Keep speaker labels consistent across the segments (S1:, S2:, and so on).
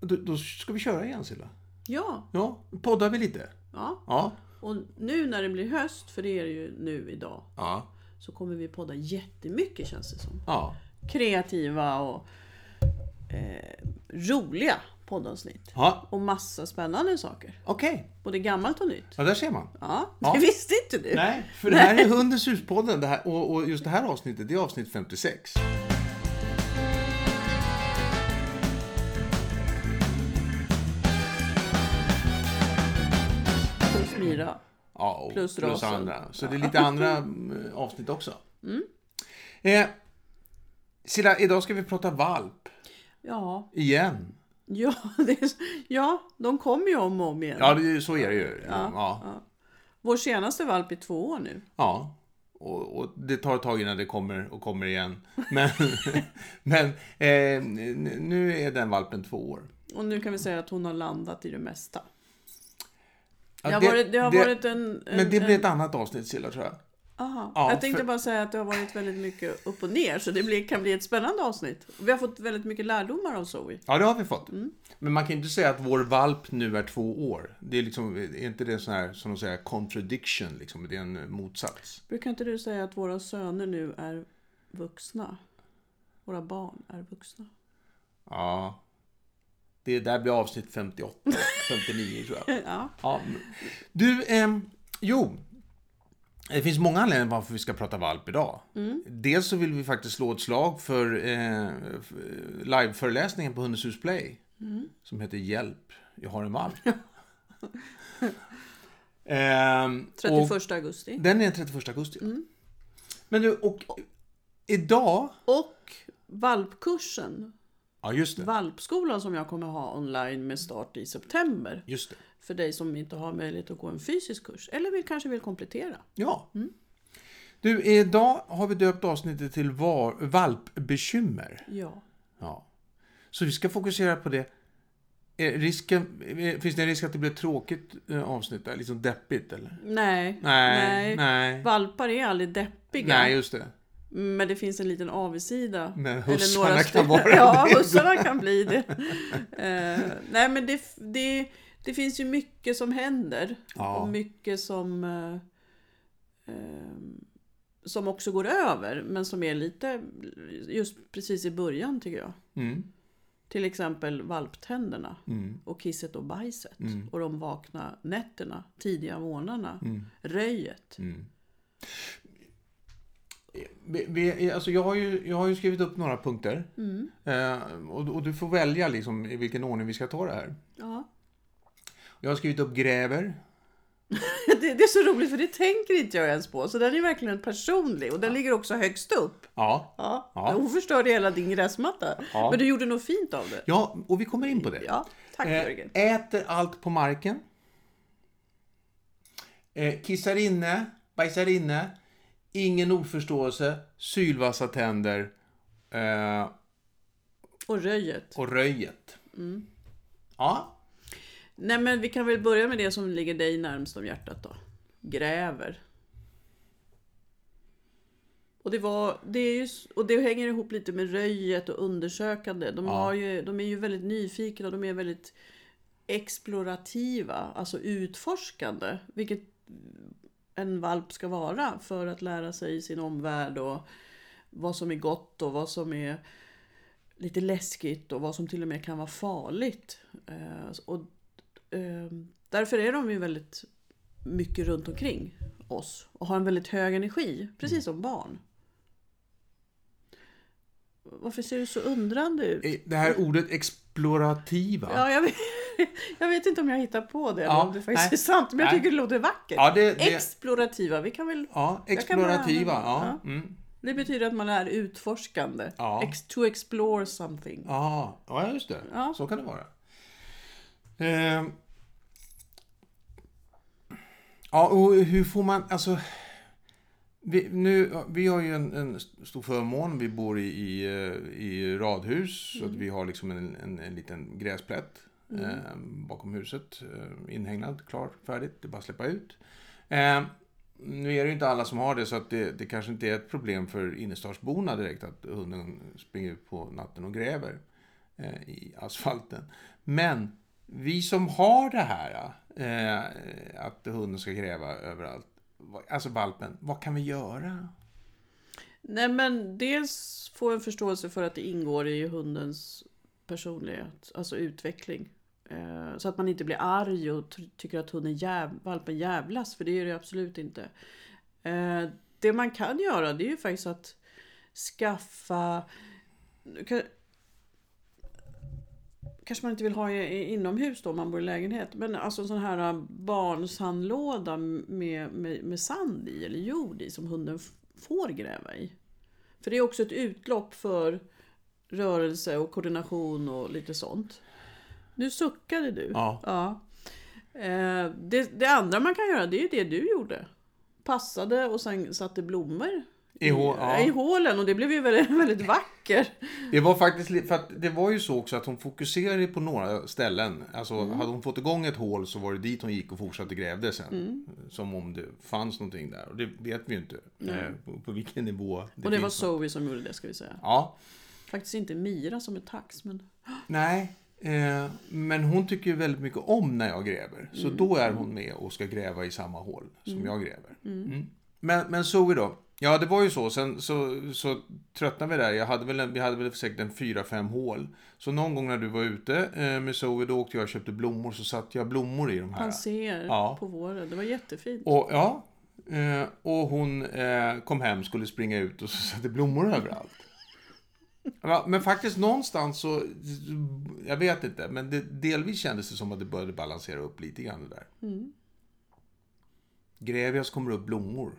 S1: Då, då ska vi köra igen Silla.
S2: Ja,
S1: Ja, poddar vi lite?
S2: ja.
S1: Ja.
S2: Och nu när det blir höst, för det är det ju nu idag,
S1: Ja.
S2: så kommer vi podda jättemycket känns det som.
S1: Ja.
S2: Kreativa och eh, roliga poddavsnitt.
S1: ja.
S2: Och massa spännande saker.
S1: Okej.
S2: Både gammalt och nytt.
S1: Ja, där ser man.
S2: Ja,
S1: Ja.
S2: det visste inte du.
S1: Nej, för det här är Hundens hus-podden det här, och, och just det här avsnittet, det är avsnitt 56.
S2: Hos Mira.
S1: Ja, och
S2: Plus
S1: plus,
S2: rasen.
S1: andra. Så det är lite andra mm, avsnitt också. Eh, Silla, idag ska vi prata valp
S2: Ja,
S1: igen.
S2: ja, det är, så- ja, de kommer ju om och om igen.
S1: Ja, det, är ju- så är det ju. Ja. ja.
S2: Vår senaste valp är två år nu.
S1: Ja, och, och det tar ett tag innan det kommer och kommer igen. Men, men eh, n- nu är den valpen två år.
S2: Och nu kan vi säga att hon har landat i det mesta.
S1: Ja,
S2: det, har varit, det har varit en... en
S1: men det
S2: en,
S1: blir ett annat avsnitt Silla tror jag.
S2: aha.
S1: ja,
S2: jag tänkte
S1: för-
S2: bara säga att det har varit väldigt mycket upp och ner så det blir, kan bli ett spännande avsnitt. Vi har fått väldigt mycket lärdomar av Zoe.
S1: Ja, det har vi fått.
S2: Mm.
S1: Men man kan ju inte säga att vår valp nu är två år. Det är, liksom, är inte det sån här, som de säger, contradiction, liksom. det är en motsats.
S2: Brukar inte du säga att våra söner nu är vuxna? Våra barn är vuxna.
S1: Ja. Det där blir avsnitt 58, 59 tror jag.
S2: Ja,
S1: Ja. Du, ehm, jo. Det finns många anledningar varför vi ska prata valp idag. Dels så vill vi faktiskt slå ett slag för eh, f- liveföreläsningen på Hundens hus Play. Som heter Hjälp, jag har en valp. ehm, och
S2: 31 augusti.
S1: den är den 31 augusti. Men du, och idag...
S2: Och valpkursen,
S1: Ja, just det.
S2: valpskolan som jag kommer ha online med start i september.
S1: Just det.
S2: För dig som inte har möjlighet att gå en fysisk kurs eller vill, kanske vill komplettera.
S1: Ja. Du, idag har vi döpt avsnittet till var, valpbekymmer.
S2: Ja.
S1: Ja. Så vi ska fokusera på det. Eh, Risken, eh, finns det en risk att det blir ett tråkigt eh, avsnitt? Där? Liksom deppigt eller?
S2: Nej.
S1: Nej, nej.
S2: Valpar är aldrig deppiga.
S1: Nej, just det.
S2: Men det finns en liten avsida.
S1: Men hussarna kan
S2: stycken-
S1: vara det.
S2: Ja, hussarna kan bli det. Eh, nej, men det, det, det finns ju mycket som händer.
S1: Ja.
S2: Och mycket som... eh, eh, som också går över, men som är lite just precis i början tycker jag.
S1: Mm.
S2: Till exempel valptänderna
S1: Mm.
S2: och kisset och bajset
S1: Mm.
S2: och de vakna nätterna, tidiga morgnarna,
S1: Mm.
S2: röjet.
S1: Mm. Vi, vi, alltså jag, har ju, jag har ju skrivit upp några punkter.
S2: Mm.
S1: Eh, och, och du får välja liksom i vilken ordning vi ska ta det här.
S2: Ja.
S1: Jag har skrivit upp gräver.
S2: Det, det är så roligt för det tänker inte jag ens på. Så den är verkligen personlig och den ligger också högst upp.
S1: Ja.
S2: Ja.
S1: Ja.
S2: Hon förstörde hela din gräsmatta.
S1: Ja.
S2: Men du gjorde något fint av det.
S1: ja, och vi kommer in på det.
S2: Ja, tack
S1: Eh,
S2: Jörgen.
S1: äter allt på marken. Eh, kissar inne, bajsar inne. Ingen ordförståelse, sylvassa tänder eh,
S2: Och röjet.
S1: och röjet.
S2: Mm.
S1: Ja,
S2: Nej men vi kan väl börja med det som ligger dig närmst om hjärtat då. Gräver. Och det, var, det är ju, s- och det hänger ihop lite med röjet och undersökande. De, har ju, de är ju väldigt nyfikna och de är väldigt explorativa, alltså utforskande. Vilket en valp ska vara för att lära sig sin omvärld och vad som är gott och vad som är lite läskigt och vad som till och med kan vara farligt. Eh, och, eh, därför är de ju väldigt mycket runt omkring oss och har en väldigt hög energi, precis som barn. Varför ser du så undrande ut?
S1: eh, det här ordet explorativa. Ja,
S2: Ja, jag, vet, jag vet inte om jag hittar på det eller
S1: Ja,
S2: om det faktiskt
S1: nej.
S2: är sant, men jag
S1: Nej.
S2: tycker det låter vackert.
S1: det, det,
S2: Explorativa, vi kan väl...
S1: ja
S2: Jag kan bara
S1: explorativa.
S2: använda-
S1: Ja, mm.
S2: Det betyder att man är utforskande.
S1: Ja.
S2: Ex, to explore something.
S1: ja, ja just det.
S2: Ja.
S1: Så kan det vara. Eh, Ja, och hur får man, alltså... Vi, nu, vi har ju en, en stor förmån, vi bor i, i, eh, i radhus, så att vi har liksom en, en, en liten gräsplätt eh, bakom huset. Eh, inhägnad, klar, färdigt, det är bara att släppa ut. Eh, nu är det ju inte alla som har det, så att det, det kanske inte är ett problem för innerstadsborna direkt att hunden springer ut på natten och gräver. eh, i asfalten. Men vi som har det här, eh, att hunden ska gräva överallt, vad- alltså valpen, vad kan vi göra?
S2: Nej men dels få en förståelse för att det ingår i hundens personlighet, alltså utveckling. Eh, Så att man inte blir arg och ty- tycker att hunden jäv, valpen jävlas, för det är det absolut inte. Eh, Det man kan göra det är ju faktiskt att skaffa... du kan- Kanske man inte vill ha i- i- inomhus då om man bor i lägenhet. Men alltså en sån här eh, barnsandlåda med, med, med sand i eller jord i som hunden f- får gräva i. För det är också ett utlopp för rörelse och koordination och lite sånt. Nu suckade du.
S1: Ja.
S2: Eh, det, det andra man kan göra det är ju det du gjorde. Passade och sen satte blommor
S1: I hå-
S2: i
S1: ja.
S2: hålen och det blev ju väldigt, väldigt vacker.
S1: Det var faktiskt li- för att det var ju så också att hon fokuserade på några ställen. Alltså
S2: Mm.
S1: hade hon fått igång ett hål så var det dit hon gick och fortsatte grävde sen.
S2: Mm.
S1: Som om det fanns någonting där. Och det vet vi ju inte eh, på, på vilken nivå det,
S2: och det var
S1: finns.
S2: Zoe som gjorde det ska vi säga.
S1: Ja,
S2: Faktiskt inte Mira som är tax men
S1: nej. Eh, men hon tycker ju väldigt mycket om när jag gräver. Så då är hon med och ska gräva i samma hål som jag gräver. Mm. Men, men Zoe då? Ja, det var ju så. Sen så, så tröttnade vi där. Jag hade väl en, vi hade väl säkert en fyra fem hål. Så någon gång när du var ute eh, med Zoe, då åkte jag och köpte blommor. Så satte jag blommor i de här.
S2: han ser
S1: Ja.
S2: på våren. Det var jättefint.
S1: Och ja, eh, och hon eh, kom hem, skulle springa ut och så satte blommor överallt. Ja, Men faktiskt någonstans så, jag vet inte, men det, delvis kändes det som att det började balansera upp lite grann det där.
S2: Mm.
S1: Grevias kommer upp blommor.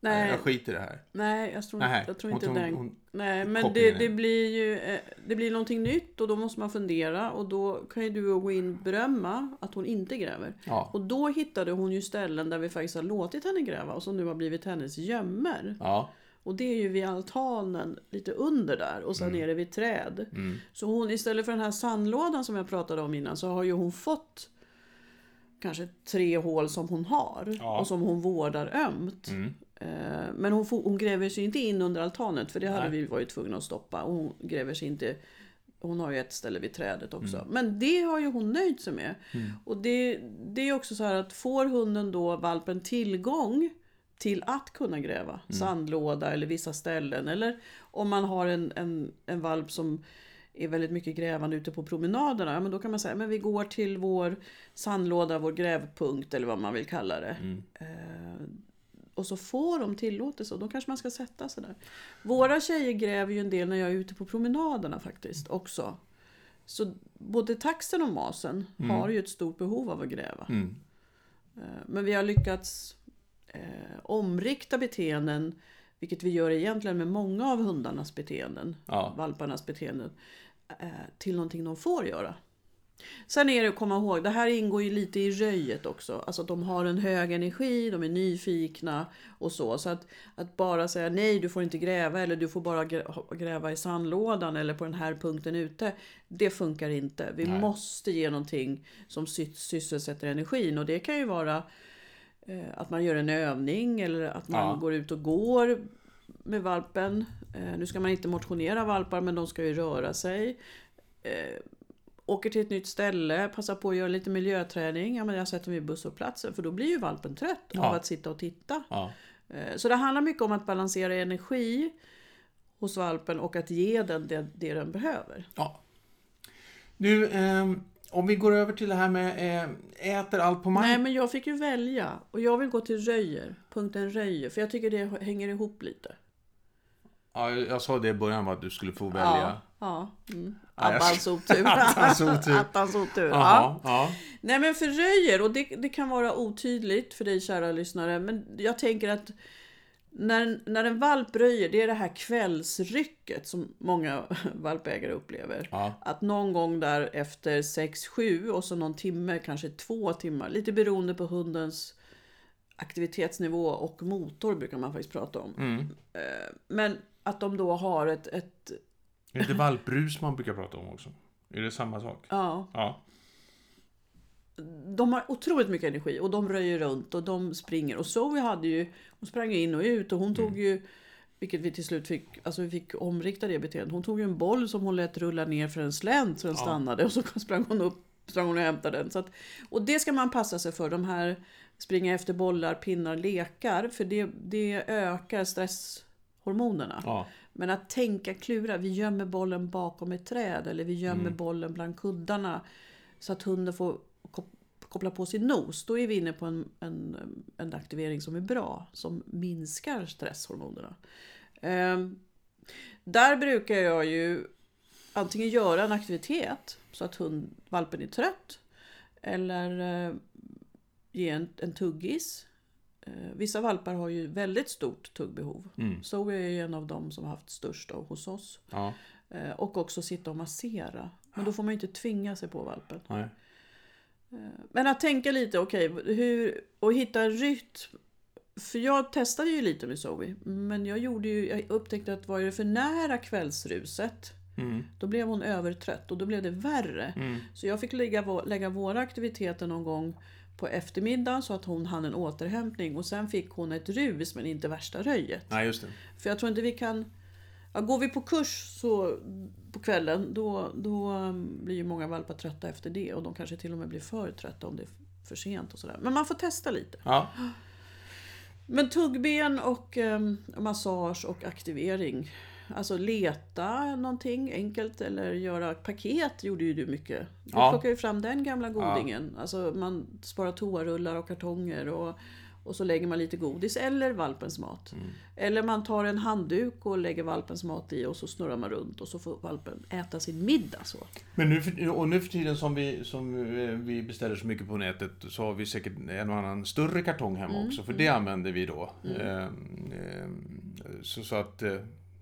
S2: Nej,
S1: Jag skiter i det här.
S2: nej, jag tror,
S1: Nej,
S2: jag tror
S1: hon
S2: inte
S1: tog-
S2: den.
S1: hon-
S2: nej, men det,
S1: kopplingen
S2: det
S1: är-
S2: blir ju eh, det blir någonting nytt och då måste man fundera och då kan ju du och Win berömma att hon inte gräver.
S1: Ja.
S2: Och då hittade hon ju ställen där vi faktiskt har låtit henne gräva och som nu har blivit hennes gömmer.
S1: Ja.
S2: Och det är ju vid altanen lite under där och sen är det vid träd. Så hon istället för den här sandlådan som jag pratade om innan så har ju hon fått kanske tre hål som hon har
S1: Ja.
S2: och som hon vårdar ömt. Eh, Men hon, får, hon gräver sig inte in under altanet för det hade vi varit tvungna att stoppa. Och hon gräver sig inte hon har ju ett ställe vid trädet också. Men det har ju hon nöjt sig med. Och det, det är också så här att får hunden då valpen tillgång till att kunna gräva sandlåda eller vissa ställen. Eller om man har en, en, en valp som är väldigt mycket grävande ute på promenaderna. Ja, men då kan man säga men vi går till vår sandlåda, vår grävpunkt eller vad man vill kalla det. Eh, och så får de tillåtelse och då kanske man ska sätta sig där. Våra tjejer gräver ju en del när jag är ute på promenaderna faktiskt också. Så både taxen och masen har ju ett stort behov av att gräva.
S1: Mm.
S2: Eh, Men vi har lyckats eh, omrikta beteenden, vilket vi gör egentligen med många av hundarnas beteenden,
S1: Ja.
S2: valparnas beteenden, eh, till någonting de får göra. Sen är det att komma ihåg, det här ingår ju lite i röjet också. Alltså att de har en hög energi, de är nyfikna och så. Så att, att bara säga nej, du får inte gräva eller du får bara grä- gräva i sandlådan eller på den här punkten ute. Det funkar inte. Vi måste ge någonting som sy- sysselsätter energin och det kan ju vara eh, att man gör en övning eller att man
S1: Ja.
S2: går ut och går med valpen. Eh, nu ska man inte motionera valpar men de ska ju röra sig åker till ett nytt ställe, passar på att göra lite miljöträning. Ja, men jag sätter mig vid busshållplatsen för då blir ju valpen trött av att sitta och titta.
S1: Ja.
S2: Eh, Så det handlar mycket om att balansera energi hos valpen och att ge den det, det den behöver.
S1: ja. Nu, ehm, om vi går över till det här med eh, äter allt på
S2: Nej,
S1: marken.
S2: men jag fick ju välja och jag vill gå till röjer, punkten röjer, för jag tycker det hänger ihop lite.
S1: Ja, jag, jag sa det i början, va, att du skulle få välja.
S2: Ja, ja. Mm. Attans otur.
S1: Attans otur.
S2: Attans otur. Ja.
S1: Jaha, ja.
S2: Nej men för röjer, och det, det kan vara otydligt för dig kära lyssnare, men jag tänker att när, när en valp röjer, det är det här kvällsrycket som många valpägare upplever.
S1: Ja.
S2: Att någon gång där efter 6-7 och så någon timme, kanske två timmar, lite beroende på hundens aktivitetsnivå och motor brukar man faktiskt prata om.
S1: Mm.
S2: Eh, Men att de då har ett, ett
S1: Är det valprus man brukar prata om också? Är det samma sak?
S2: ja,
S1: Ja.
S2: de har otroligt mycket energi och de röjer runt och de springer. Och Zoe hade ju, hon sprang ju in och ut och hon tog ju Vilket vi till slut fick, alltså vi fick omrikta det beteendet. Hon tog ju en boll som hon lät rulla ner för en slänt så den
S1: Ja.
S2: stannade och så sprang hon upp sprang hon och hämtade den. Så att, och det ska man passa sig för. De här springa efter bollar, pinnar, lekar. För det, det ökar stresshormonerna.
S1: Ja.
S2: Men att tänka klura, vi gömmer bollen bakom ett träd eller vi gömmer bollen bland kuddarna så att hunden får kop- koppla på sin nos. Då är vi inne på en, en, en aktivering som är bra, som minskar stresshormonerna. Ehm, där brukar jag ju antingen göra en aktivitet så att hund, valpen är trött eller eh, ge en, en tuggis. Eh, vissa valpar har ju väldigt stort tuggbehov.
S1: Mm.
S2: Zoe är ju en av dem som har haft störst av hos oss.
S1: Ja.
S2: Eh, Och också sitta och massera. Men då får man ju inte tvinga sig på valpen.
S1: Nej.
S2: Men att tänka lite, okej, hur... Och hitta en rytm. För jag testade ju lite med Zoe. Men jag, gjorde ju, jag upptäckte att var det för nära kvällsruset.
S1: Mm.
S2: Då blev hon övertrött och då blev det värre.
S1: Mm.
S2: Så jag fick lägga, vå- lägga våra aktiviteter någon gång på eftermiddagen så att hon hann en återhämtning. Och sen fick hon ett rus men inte värsta röjet.
S1: Nej, just det.
S2: För jag tror inte vi kan... Ja, går vi på kurs så på kvällen då, då um, blir ju många valpar trötta efter det och de kanske till och med blir för trötta om det är för sent och sådär. Men man får testa lite.
S1: Ja.
S2: Men tuggben och um, massage och aktivering. Alltså leta någonting enkelt eller göra paket gjorde ju du mycket. Du
S1: Ja.
S2: plockade ju fram den gamla godingen. Alltså man sparar toarullar och kartonger och, och så lägger man lite godis eller valpens mat.
S1: Mm.
S2: Eller man tar en handduk och lägger valpens mat i och så snurrar man runt och så får valpen äta sin middag så.
S1: Men nu för, och nu för tiden som vi, som eh, vi beställer så mycket på nätet så har vi säkert en och annan större kartong hemma också, för det använder vi då. Ehm, ehm, så, så att eh,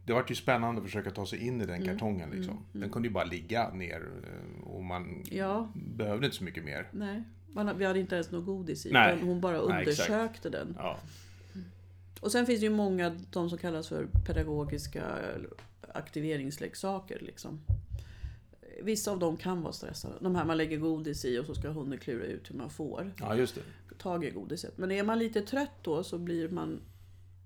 S1: det vart ju spännande att försöka ta sig in i den kartongen liksom. Den kunde ju bara ligga ner eh, och man
S2: Ja.
S1: behövde inte så mycket mer.
S2: Nej, man, vi hade inte ens något godis i.
S1: Nej.
S2: utan Hon bara
S1: Nej, exakt.
S2: undersökte den.
S1: Ja.
S2: Och sen finns det ju många, de som kallas för pedagogiska aktiveringsleksaker. Liksom. Vissa av dem kan vara stressade. De här man lägger godis i och så ska hunden klura ut hur man får
S1: ja, just det.
S2: tag i godiset. Men är man lite trött då så blir man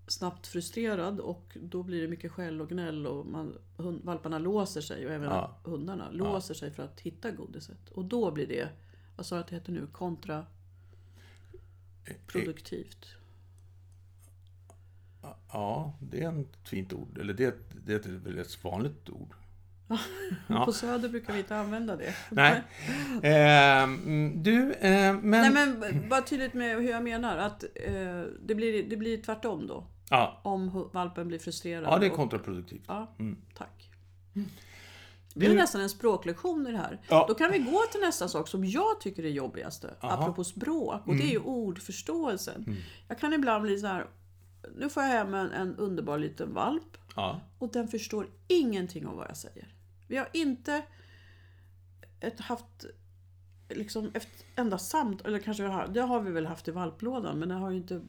S2: snabbt frustrerad och då blir det mycket skäll och gnäll och man, hund, valparna låser sig och även
S1: Ja.
S2: hundarna låser sig för att hitta godiset. Och då blir det, vad sa jag att det heter nu, kontraproduktivt.
S1: Ja, det är ett fint ord. Eller det, det är ett väldigt vanligt ord.
S2: På Söder brukar vi inte använda det.
S1: Nej. Ehm, mm, du, eh, men...
S2: Nej men b- bara tydligt med hur jag menar. Att eh, det, blir, det blir tvärtom då.
S1: Ja,
S2: Om hu- valpen blir frustrerad.
S1: ja, det är
S2: och-
S1: kontraproduktivt.
S2: Ja,
S1: Mm.
S2: tack. Det blir
S1: Du-
S2: nästan en språklektion i det här.
S1: Ja.
S2: Då kan vi gå till nästa sak som jag tycker är jobbligaste.
S1: Aha.
S2: Apropå språk. Och det är ju
S1: Mm.
S2: ordförståelsen. Jag kan ibland bli så här. Nu får jag hem en, en underbar liten valp.
S1: Ja.
S2: Och den förstår ingenting om vad jag säger. Vi har inte ett, haft liksom ett enda samt eller kanske vi har, det har vi väl haft i valplådan men den har ju inte,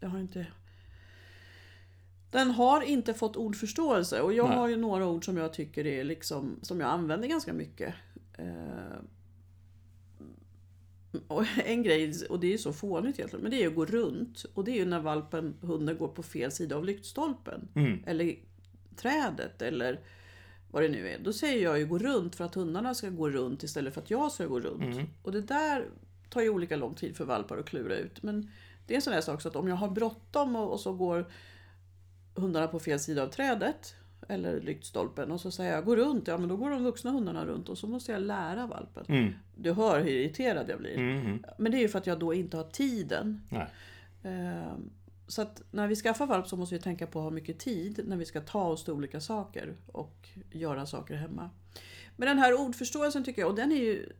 S2: den har inte den har inte fått ordförståelse och jag
S1: Nej.
S2: har ju några ord som jag tycker är liksom, som jag använder ganska mycket. Eh, och en grej, och det är ju så fånigt egentligen, men det är ju att gå runt. Och det är ju när valpen, hunden går på fel sida av lyktstolpen.
S1: Mm.
S2: Eller trädet eller vad det nu är. Då säger jag ju gå runt för att hundarna ska gå runt istället för att jag ska gå runt.
S1: Mm.
S2: Och det där tar ju olika lång tid för valpar att klura ut. Men det är en sån här sak så att om jag har bråttom och, och så går hundarna på fel sida av trädet eller lyktstolpen och så säger jag gå runt, ja men då går de vuxna hundarna runt och så måste jag lära valpen.
S1: Mm.
S2: Du hör hur irriterad jag blir.
S1: Mm. mm.
S2: Men det är ju för att jag då inte har tiden.
S1: Nej.
S2: Ehm, Så att när vi skaffar valp så måste vi tänka på att ha mycket tid när vi ska ta oss till olika saker och göra saker hemma. Men den här ordförståelsen tycker jag, och den är ju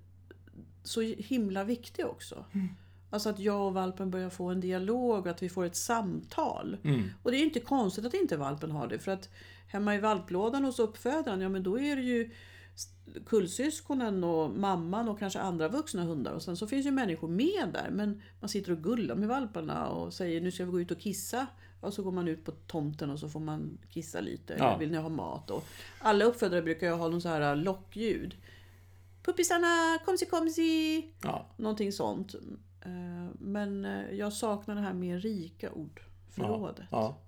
S2: så himla viktig också. Alltså att jag och valpen börjar få en dialog och att vi får ett samtal.
S1: Mm.
S2: Och det är ju inte konstigt att inte valpen har det för att hemma i valplådan hos uppfödaren, ja men då är det ju kullsyskonen och mamman och kanske andra vuxna hundar och sen så finns ju människor med där men man sitter och gullar med valparna och säger nu ska vi gå ut och kissa och så går man ut på tomten och så får man kissa lite
S1: Ja.
S2: eller vill ni ha mat? Och alla uppfödare brukar ju ha någon så här äh, lockljud. Puppisarna, komsi komsi!
S1: Ja.
S2: Någonting sånt. Eh, Men eh, jag saknar det här mer rika ordförrådet.
S1: Ja.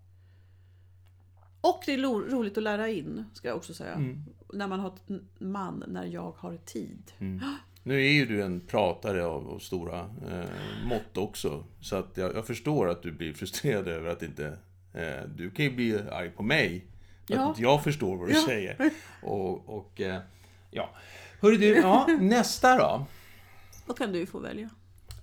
S2: Och det är lo- roligt att lära in, ska jag också säga.
S1: Mm.
S2: När man har t- man, när jag har tid.
S1: Nu är ju du en pratare av, av stora eh, mått också. Så att jag, jag förstår att du blir frustrerad över att inte... Eh, du kan ju bli arg på mig. För
S2: Ja.
S1: att inte jag förstår vad du
S2: Ja.
S1: säger. Och, och eh, ja. Hörru du, ja, nästa då.
S2: Då kan du få välja.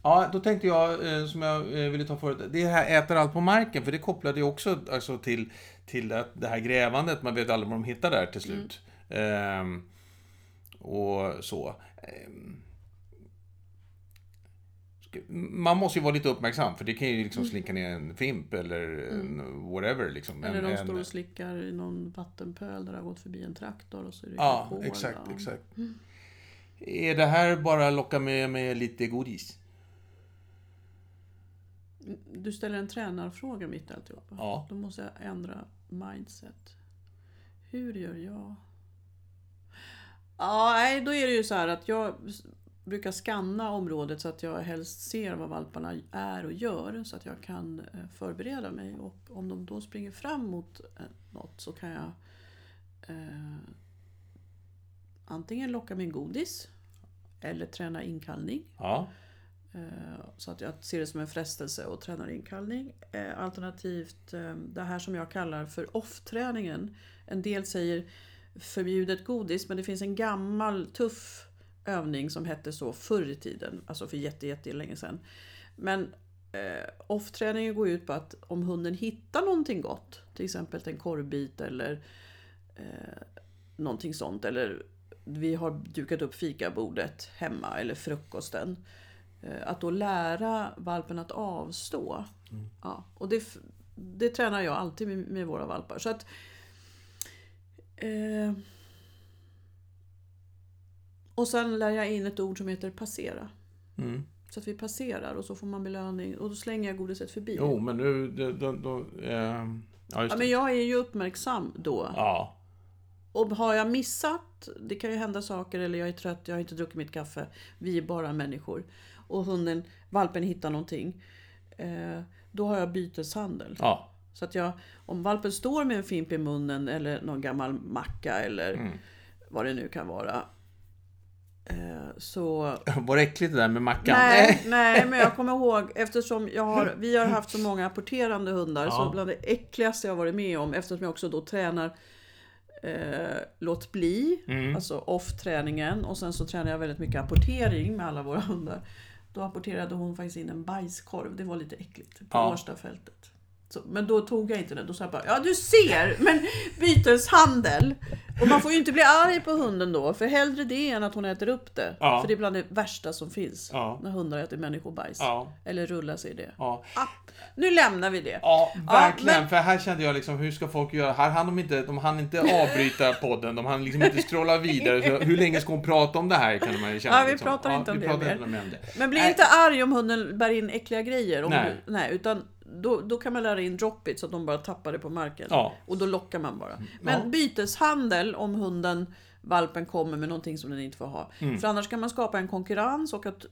S1: Ja, då tänkte jag, eh, som jag eh, ville ta förut, det här äter allt på marken, för det kopplade ju också alltså, till, till det, det här grävandet, man vet aldrig vad de hittar där till slut.
S2: Mm.
S1: Ehm, och så. Ehm. Ska- Man måste ju vara lite uppmärksam, för det kan ju
S2: Mm.
S1: liksom slinka ner en fimp eller en whatever. Liksom.
S2: Eller
S1: en,
S2: de
S1: en-
S2: står och slickar i någon vattenpöl där det har gått förbi en traktor och så är det
S1: Ja,
S2: hål,
S1: exakt,
S2: va?
S1: exakt.
S2: Mm.
S1: Är det här bara locka med, med lite godis?
S2: Du ställer en tränarfråga mitt i alltihopa.
S1: Ja.
S2: Då måste jag ändra mindset. Hur gör jag? Ja, nej, då är det ju så här att jag s- brukar skanna området så att jag helst ser vad valparna är och gör så att jag kan eh, förbereda mig. Och om de då springer fram mot eh, något så kan jag eh, antingen locka med godis eller träna inkallning.
S1: Ja.
S2: Eh, Så att jag ser det som en frestelse och tränar inkallning. Eh, Alternativt eh, det här som jag kallar för off-träningen. En del säger förbjudet godis, men det finns en gammal tuff övning som hette så förr i tiden, alltså för jätte, jätte länge sedan. Men eh, off-träningen går ut på att om hunden hittar någonting gott, till exempel en korvbit eller eh, någonting sånt. Eller vi har dukat upp fikabordet hemma eller frukosten. Eh, Att då lära valpen att avstå.
S1: Mm.
S2: Ja, och det, f- det tränar jag alltid med, med våra valpar. Så att, eh, och sen lär jag in ett ord som heter passera.
S1: Mm.
S2: Så att vi passerar och så får man belöning och då slänger jag godiset förbi.
S1: Jo, men nu... Då, då, då, ehm, ja, just
S2: Ja,
S1: det.
S2: men jag är ju uppmärksam då.
S1: Ja.
S2: Och har jag missat, det kan ju hända saker eller jag är trött, jag har inte druckit mitt kaffe. Vi är bara människor. Och hunden, valpen hittar någonting. Eh, då har jag byteshandel.
S1: ja.
S2: Så att jag, om valpen står med en fimp i munnen eller någon gammal macka eller vad det nu kan vara. Eh, så
S1: Var äckligt det där med mackan.
S2: Nej, nej, men jag kommer ihåg eftersom jag har, vi har haft så många apporterande hundar så
S1: Ja.
S2: bland det äckligaste jag varit med om eftersom jag också då tränar eh, låt bli,
S1: Mm.
S2: alltså off-träningen och sen så tränar jag väldigt mycket apportering med alla våra hundar. Då apporterade hon faktiskt in en bajskorv, det var lite äckligt, på
S1: Ja.
S2: Årstafältet. Så, men då tog jag inte den, då sa jag bara ja du ser, men byteshandel. Och man får ju inte bli arg på hunden då, för hellre det än att hon äter upp det.
S1: Ja.
S2: För det är bland det värsta som finns.
S1: Ja.
S2: När hundar äter människobajs.
S1: Ja.
S2: Eller rullar sig i det.
S1: Ja.
S2: Ah, nu lämnar vi det.
S1: Ja, verkligen.
S2: Ja, men-
S1: För här kände jag liksom, hur ska folk göra? Här hann de inte, de hann inte avbryta podden, de hann liksom inte scrolla vidare. Så hur länge ska hon prata om det här kan man ju känna.
S2: Ja, vi
S1: liksom.
S2: pratar inte om
S1: vi
S2: det
S1: pratar
S2: mer.
S1: inte mer om det.
S2: Men bli
S1: Nej.
S2: inte arg om hunden bär in äckliga grejer. Om
S1: Äh. Nej.
S2: Du, nej, utan då, då kan man lära in drop it så att de bara tappar det på marken.
S1: Ja.
S2: Och då lockar man bara. Men byteshandel om hunden, valpen kommer med någonting som den inte får ha.
S1: Mm.
S2: För annars kan man skapa en konkurrens och ett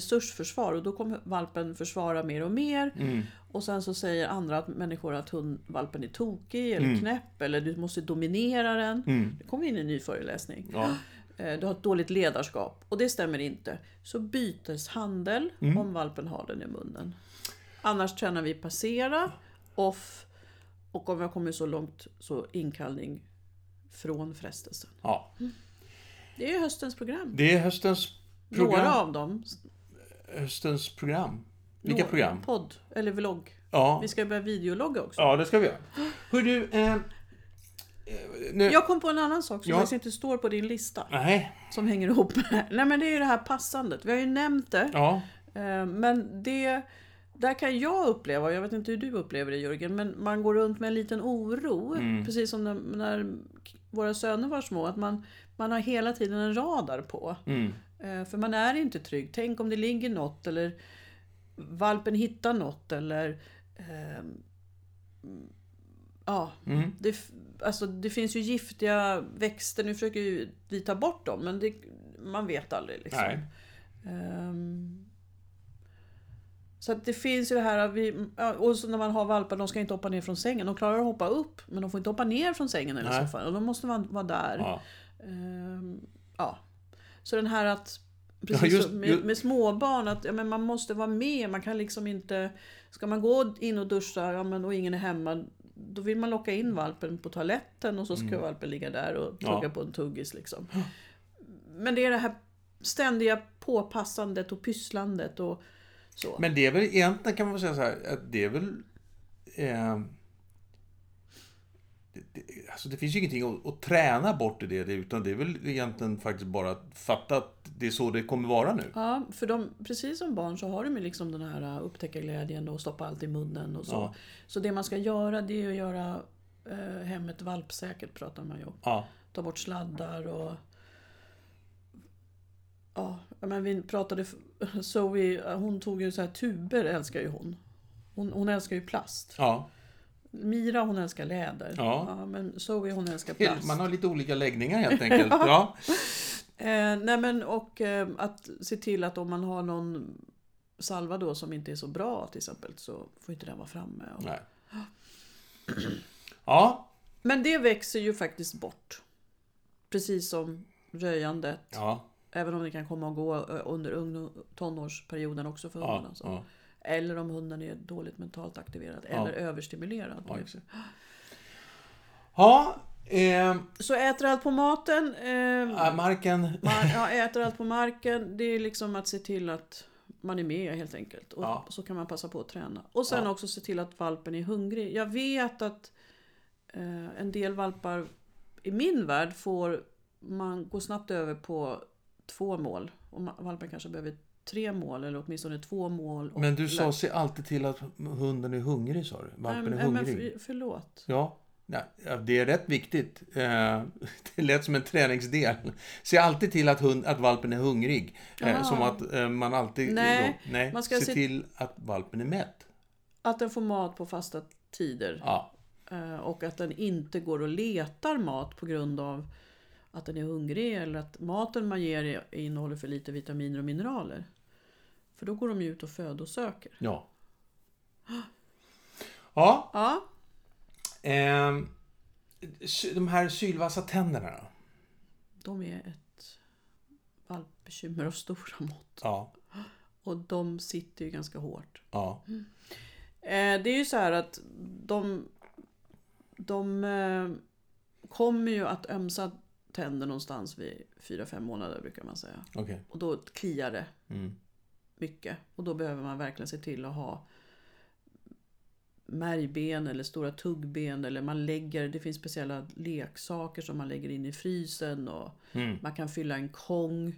S2: resursförsvar och då kommer valpen försvara mer och mer.
S1: Mm.
S2: Och sen så säger andra att människor att hund, valpen är tokig
S1: Mm.
S2: eller knäpp eller du måste dominera den. Det kommer in en ny föreläsning.
S1: Ja.
S2: Eh, Du har ett dåligt ledarskap och det stämmer inte. Så byteshandel
S1: Mm.
S2: om valpen har den i munnen. Annars tränar vi passera, off och om jag kommer så långt så inkallning från frestelsen.
S1: ja.
S2: Det är höstens program.
S1: Det är höstens
S2: Några
S1: program.
S2: av dem.
S1: Höstens program. Vilka
S2: Några-
S1: program?
S2: Podd eller vlogg.
S1: Ja.
S2: Vi ska börja videologga också.
S1: ja, det ska vi göra. Hör du, eh, eh, nu...
S2: Jag kom på en annan sak som
S1: Ja.
S2: faktiskt inte står på din lista.
S1: Nej,
S2: Som hänger ihop med det här. Nej men det är ju det här passandet. Vi har ju nämnt det.
S1: ja.
S2: Eh, Men det, där kan jag uppleva, och jag vet inte hur du upplever det Jörgen, men man går runt med en liten oro. Precis som när, när våra söner var små, att man, man har hela tiden en radar på. Eh, För man är inte trygg. Tänk om det ligger något eller valpen hittar något eller ehm, Ja,
S1: Mm.
S2: det, f- alltså det finns ju giftiga växter. Nu försöker ju vi ta bort dem, men det, man vet aldrig. Liksom.
S1: Nej.
S2: Ehm, Så att det finns ju det här att vi, ja, och så när man har valpar, de ska inte hoppa ner från sängen. De klarar att hoppa upp, men de får inte hoppa ner från sängen eller
S1: Nej.
S2: soffan. Och de måste vara, vara där.
S1: Ja.
S2: Ehm, ja. Så den här att Precis,
S1: just-
S2: som med,
S1: ju-
S2: med småbarn, att ja, men man måste vara med. Man kan liksom inte... Ska man gå in och duscha ja, men, och ingen är hemma, då vill man locka in valpen på toaletten och så ska valpen ligga där och tugga
S1: Mm. Ja.
S2: på en tuggis. Liksom. Men det är det här ständiga påpassandet och pysslandet och så.
S1: Men det är väl egentligen kan man väl säga så här att det är väl... Eh, det, det, alltså det finns ju ingenting att, att träna bort i det utan det är väl egentligen faktiskt bara att fatta att det är så det kommer vara nu.
S2: Ja, för de, precis som barn så har de ju liksom den här uh, upptäckarglädjen och stoppa allt i munnen och så.
S1: Ja.
S2: Så det man ska göra det är att göra eh, hemmet valpsäkert pratar man ju om.
S1: Ja,
S2: Ta bort sladdar och... Ja, ja, men vi pratade... f- Zoe, hon tog ju så här tuber älskar ju hon. Hon, hon älskar ju plast.
S1: ja.
S2: Mira hon älskar läder.
S1: Ja.
S2: men Zoe hon älskar plast.
S1: Man har lite olika läggningar helt enkelt. Ja,
S2: Eh, nej men och eh, att se till att om man har någon salva då som inte är så bra till exempel så får inte den vara framme. Och...
S1: Nej. ja.
S2: Men det växer ju faktiskt bort. Precis som röjandet.
S1: ja.
S2: Även om det kan komma och gå eh, under ung- tonårsperioden också för
S1: ja.
S2: hundarna. Så.
S1: ja.
S2: Eller om hunden är dåligt mentalt aktiverad eller överstimulerad.
S1: Ja, eh,
S2: Så äter allt på maten. Eh,
S1: äh, marken.
S2: Man ja, äter allt på marken. Det är liksom att se till att man är med helt enkelt. Och
S1: Ja.
S2: så kan man passa på att träna. Och sen
S1: Ja.
S2: också se till att valpen är hungrig. Jag vet att eh, en del valpar i min värld får man går snabbt över på två mål. Och ma- valpen kanske behöver tre mål eller åtminstone två mål. Och
S1: Men du sa se alltid till att hunden är hungrig sa du.
S2: Nej,
S1: Valpen är
S2: nej, men
S1: hungrig.
S2: för- Förlåt.
S1: Ja, nej, ja, det är rätt viktigt. Eh, Det lät som en träningsdel. Se alltid till att, hund, att valpen är hungrig. Eh,
S2: Ah.
S1: Som att eh, man alltid...
S2: Nej,
S1: då, nej
S2: man ska
S1: se
S2: se-
S1: till att valpen är mätt.
S2: Att den får mat på fasta tider.
S1: Ja,
S2: Eh, Och att den inte går och letar mat på grund av att den är hungrig eller att maten man ger är- innehåller för lite vitaminer och mineraler. För då går de ju ut och föder och söker.
S1: ja. Ja,
S2: Ja,
S1: Ehm, sy- de här sylvassa tänderna då?
S2: de är ett valpbekymmer av stora mått.
S1: Ja.
S2: Och de sitter ju ganska hårt.
S1: Ja.
S2: Eh, Det är ju så här att de, de eh, kommer ju att ömsa tänder någonstans vid 4-5 månader brukar man säga.
S1: Okej.
S2: Och då kliar det.
S1: Mm.
S2: mycket. Och då behöver man verkligen se till att ha märgben eller stora tuggben eller man lägger, det finns speciella leksaker som man lägger in i frysen och
S1: Mm.
S2: man kan fylla en kong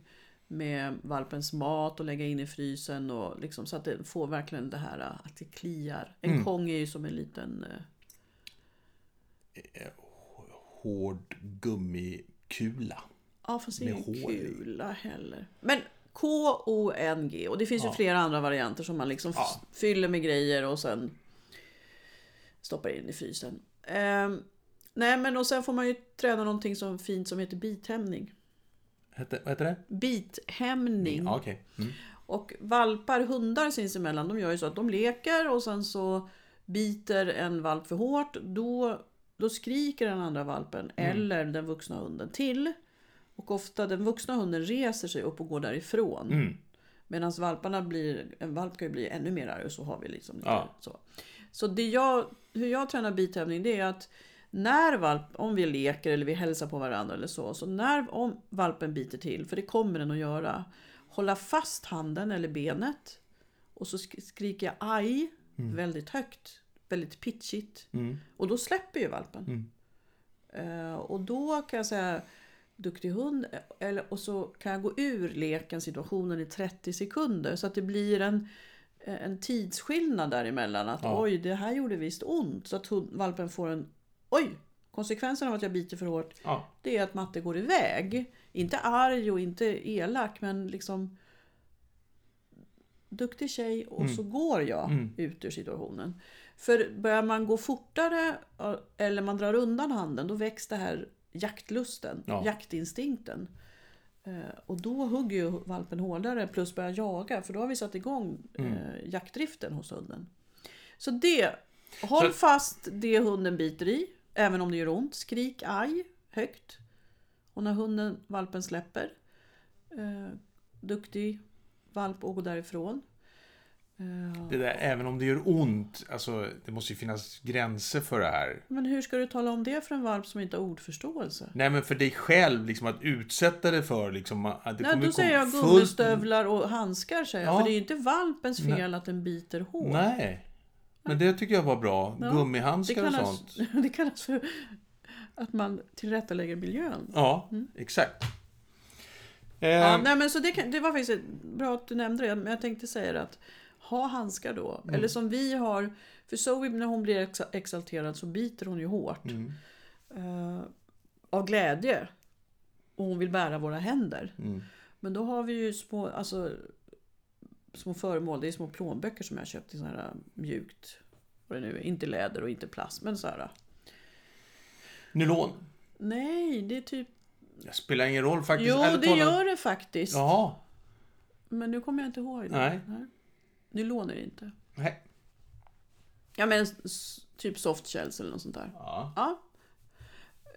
S2: med valpens mat och lägga in i frysen och liksom så att det får verkligen det här att det kliar. En
S1: Mm.
S2: kong är ju som en liten eh,
S1: Hård gummikula.
S2: Ja, fast det är
S1: Med
S2: ingen
S1: hål i.
S2: kula heller. Men K-O-N-G. Och det finns ju flera andra varianter som man liksom f-
S1: Ja.
S2: fyller med grejer och sen stoppar in i frysen. Ehm, nej, men och sen får man ju träna någonting som fint som heter bithämning.
S1: Hette, vad heter det?
S2: Bithämning.
S1: Ja, okej. Mm.
S2: Och valpar, hundar sinsemellan, de gör ju så att de leker och sen så biter en valp för hårt. Då, då skriker den andra valpen
S1: Mm.
S2: eller den vuxna hunden till. Och ofta den vuxna hunden reser sig upp och går därifrån.
S1: Mm.
S2: Medan valparna blir, en valp kan ju bli ännu mer arg och så har vi liksom lite
S1: Ja.
S2: så. Så det jag, hur jag tränar bitävling det är att när valp, om vi leker eller vi hälsar på varandra eller så, så när om valpen biter till, för det kommer den att göra, hålla fast handen eller benet och så sk- skriker jag aj väldigt högt, väldigt pitchigt.
S1: Mm.
S2: Och då släpper ju valpen. Eh, och då kan jag säga duktig hund eh, eller, och så kan jag gå ur leken situationen i 30 sekunder så att det blir en, eh, en tidsskillnad däremellan. Att
S1: Ja.
S2: oj, det här gjorde visst ont. Så att hund, valpen får en oj, konsekvensen av att jag biter för hårt
S1: Ja.
S2: det är att matte går iväg. Inte arg och inte elak men liksom duktig tjej och så går jag ut ur situationen. För börjar man gå fortare eller man drar undan handen då väcks det här jaktlusten,
S1: Ja.
S2: jaktinstinkten. Eh, Och då hugger ju valpen hårdare plus börjar jaga för då har vi satt igång eh, jaktdriften hos hunden. Så det, håll
S1: Så-
S2: fast det hunden biter i, även om det gör ont. Skrik aj högt. Och när hunden, valpen släpper, eh, duktig valp och gå därifrån. Eh,
S1: Det där, även om det gör ont, alltså det måste ju finnas gränser för det här.
S2: men hur ska du tala om det för en valp som inte har ordförståelse?
S1: Nej men för dig själv, liksom att utsätta dig för liksom att det
S2: Nej,
S1: kommer
S2: då säger jag
S1: komma fullt-
S2: gummistövlar och handskar säger jag.
S1: Ja.
S2: För det är ju inte valpens fel att den biter hårt.
S1: Nej. Men det tycker jag var bra.
S2: Ja, det,
S1: Gummihandskar och
S2: kallas,
S1: sånt.
S2: det kallas för att man tillrättalägger miljön.
S1: Ja, exakt. Eh,
S2: Mm. Ja, nej, men så det, kan, det var faktiskt ett- bra att du nämnde det, men jag tänkte säga det att ha handskar då.
S1: Mm.
S2: Eller som vi har, för Zoe när hon blir exa- exalterad så biter hon ju hårt.
S1: Mm.
S2: Eh, av glädje. Och hon vill bära våra händer.
S1: Mm.
S2: Men då har vi ju små, alltså, små föremål. Det är små plånböcker som jag har köpt i sån här mjukt. Vad det nu är. Inte läder och inte plast. Men så här.
S1: Nylon.
S2: Nej, det är typ...
S1: Det spelar ingen roll faktiskt.
S2: Jo,
S1: Ärligt
S2: det
S1: talat.
S2: gör det faktiskt.
S1: Jaha.
S2: Men nu kommer jag inte ihåg det.
S1: Nej.
S2: Nylon är det inte.
S1: Nej.
S2: Ja, men s- typ softshells eller något sånt där.
S1: Ja.
S2: Ja.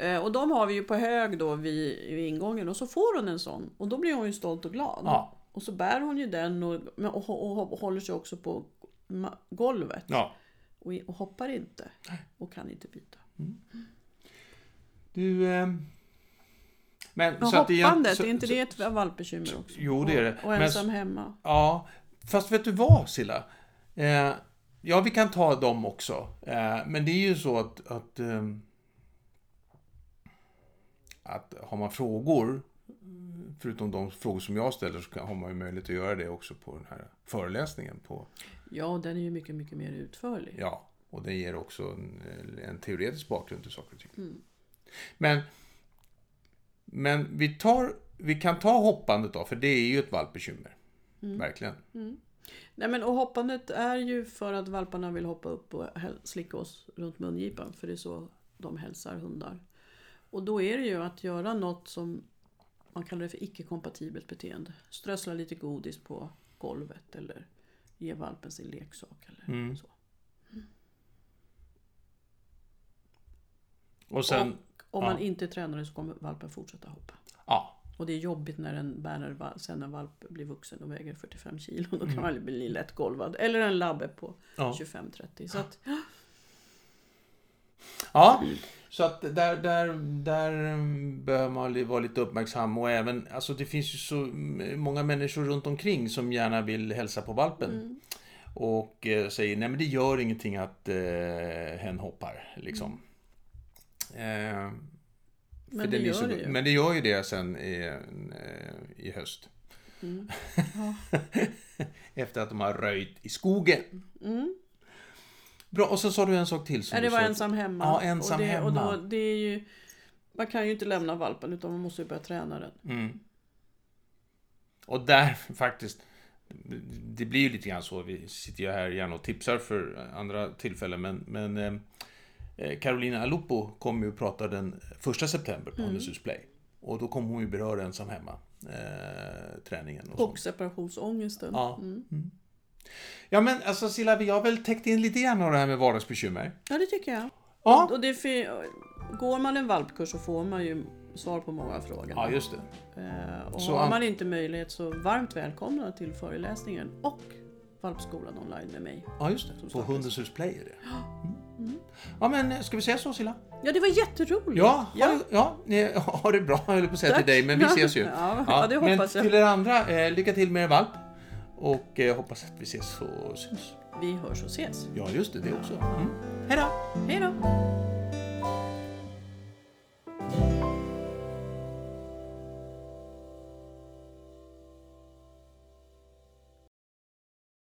S2: Eh, Och de har vi ju på hög då vid, vid ingången och så får hon en sån och då blir hon ju stolt och glad.
S1: Ja.
S2: Och så bär hon ju den och, men- och, och, och håller sig också på ma- golvet.
S1: ja.
S2: och, och hoppar inte och kan inte byta.
S1: Du... ehm, Men
S2: Men
S1: så att igen-
S2: hoppandet,
S1: så-
S2: är inte
S1: så-
S2: det ett valpbekymmer också?
S1: Jo, det är det.
S2: Och, och
S1: Men-
S2: ensam hemma.
S1: Ja, fast vet du vad Silla? Eh, ja, vi kan ta dem också. Eh, men det är ju så att, att, ehm, att har man frågor, förutom de frågor som jag ställer, så kan, har man ju möjlighet att göra det också på den här föreläsningen. På,
S2: Ja, och den är ju mycket, mycket mer utförlig.
S1: ja, och det ger också en, en teoretisk bakgrund till saker och ting.
S2: Mm.
S1: Men, men vi, tar, vi kan ta hoppandet då, för det är ju ett valpbekymmer. Verkligen.
S2: Nej, men och hoppandet är ju för att valparna vill hoppa upp och häl- slicka oss runt mungipan, för det är så de hälsar hundar. Och då är det ju att göra något som man kallar det för icke-kompatibelt beteende. Strössla lite godis på golvet eller ge valpen sin leksak eller
S1: Mm.
S2: så.
S1: Och sen,
S2: Om
S1: Ja.
S2: man inte tränar det så kommer valpen fortsätta hoppa.
S1: ja.
S2: Och det är jobbigt när en bärare, va- sen när valp blir vuxen och väger 45 kilo. Då kan man bli lätt golvad. Eller en labbe på
S1: Mm. ja.
S2: 25-30. Så att,
S1: Ja, så att där, där, där mm, behöver man li- vara lite uppmärksam och även, alltså det finns ju så mm, många människor runt omkring som gärna vill hälsa på valpen.
S2: Mm.
S1: Och eh, säger, nej men det gör ingenting att eh, hen hoppar, liksom. Eh, för
S2: Mm. men det
S1: den är liksom
S2: gör
S1: så,
S2: det ju.
S1: Men det gör ju det sen i, eh, i höst.
S2: Mm.
S1: Efter att de har röjt i skogen.
S2: Mm.
S1: Bra, och sen sa du en sak till. Som
S2: Är det
S1: du
S2: var
S1: sa.
S2: ensam hemma.
S1: Ja, ensam
S2: och det,
S1: hemma.
S2: Och då, det är ju, man kan ju inte lämna valpen utan man måste ju börja träna den.
S1: Mm. Och där faktiskt, det blir ju lite grann så, vi sitter ju här gärna och tipsar för andra tillfällen, men, men eh, Carolina Alupo kom ju och pratade den 1 september på Honest Hus Play. Och då kom hon ju beröra ensam hemma, eh, träningen och,
S2: Och
S1: sånt.
S2: separationsångesten.
S1: Ja.
S2: Mm.
S1: Ja men alltså Silla, vi har väl täckt in lite grann av det här med vardagsbekymmer.
S2: ja, det tycker jag.
S1: Ja,
S2: Och, och det är fi- går man en valpkurs så får man ju svar på många frågor.
S1: ja just det.
S2: Eh, Och
S1: Så
S2: har
S1: an-
S2: man inte möjlighet så varmt välkomna till föreläsningen och Valpskolan online med mig.
S1: Ja, just det. På
S2: startas.
S1: Hundens Hus Play är det. Mm. Ja men eh, ska vi säga så Silla?
S2: Ja, det var jätteroligt!
S1: Ja,
S2: Ja.
S1: ha, ja ni, ha det bra höll jag på att säga
S2: Tack.
S1: till dig, men vi ses ju.
S2: Ja, ja, det hoppas
S1: men
S2: jag.
S1: till er andra, eh, lycka till med er valp. Och eh, hoppas att vi ses och syns.
S2: Vi hörs och ses.
S1: Ja, just det, det också. Mm. Hej då!
S2: Hej då!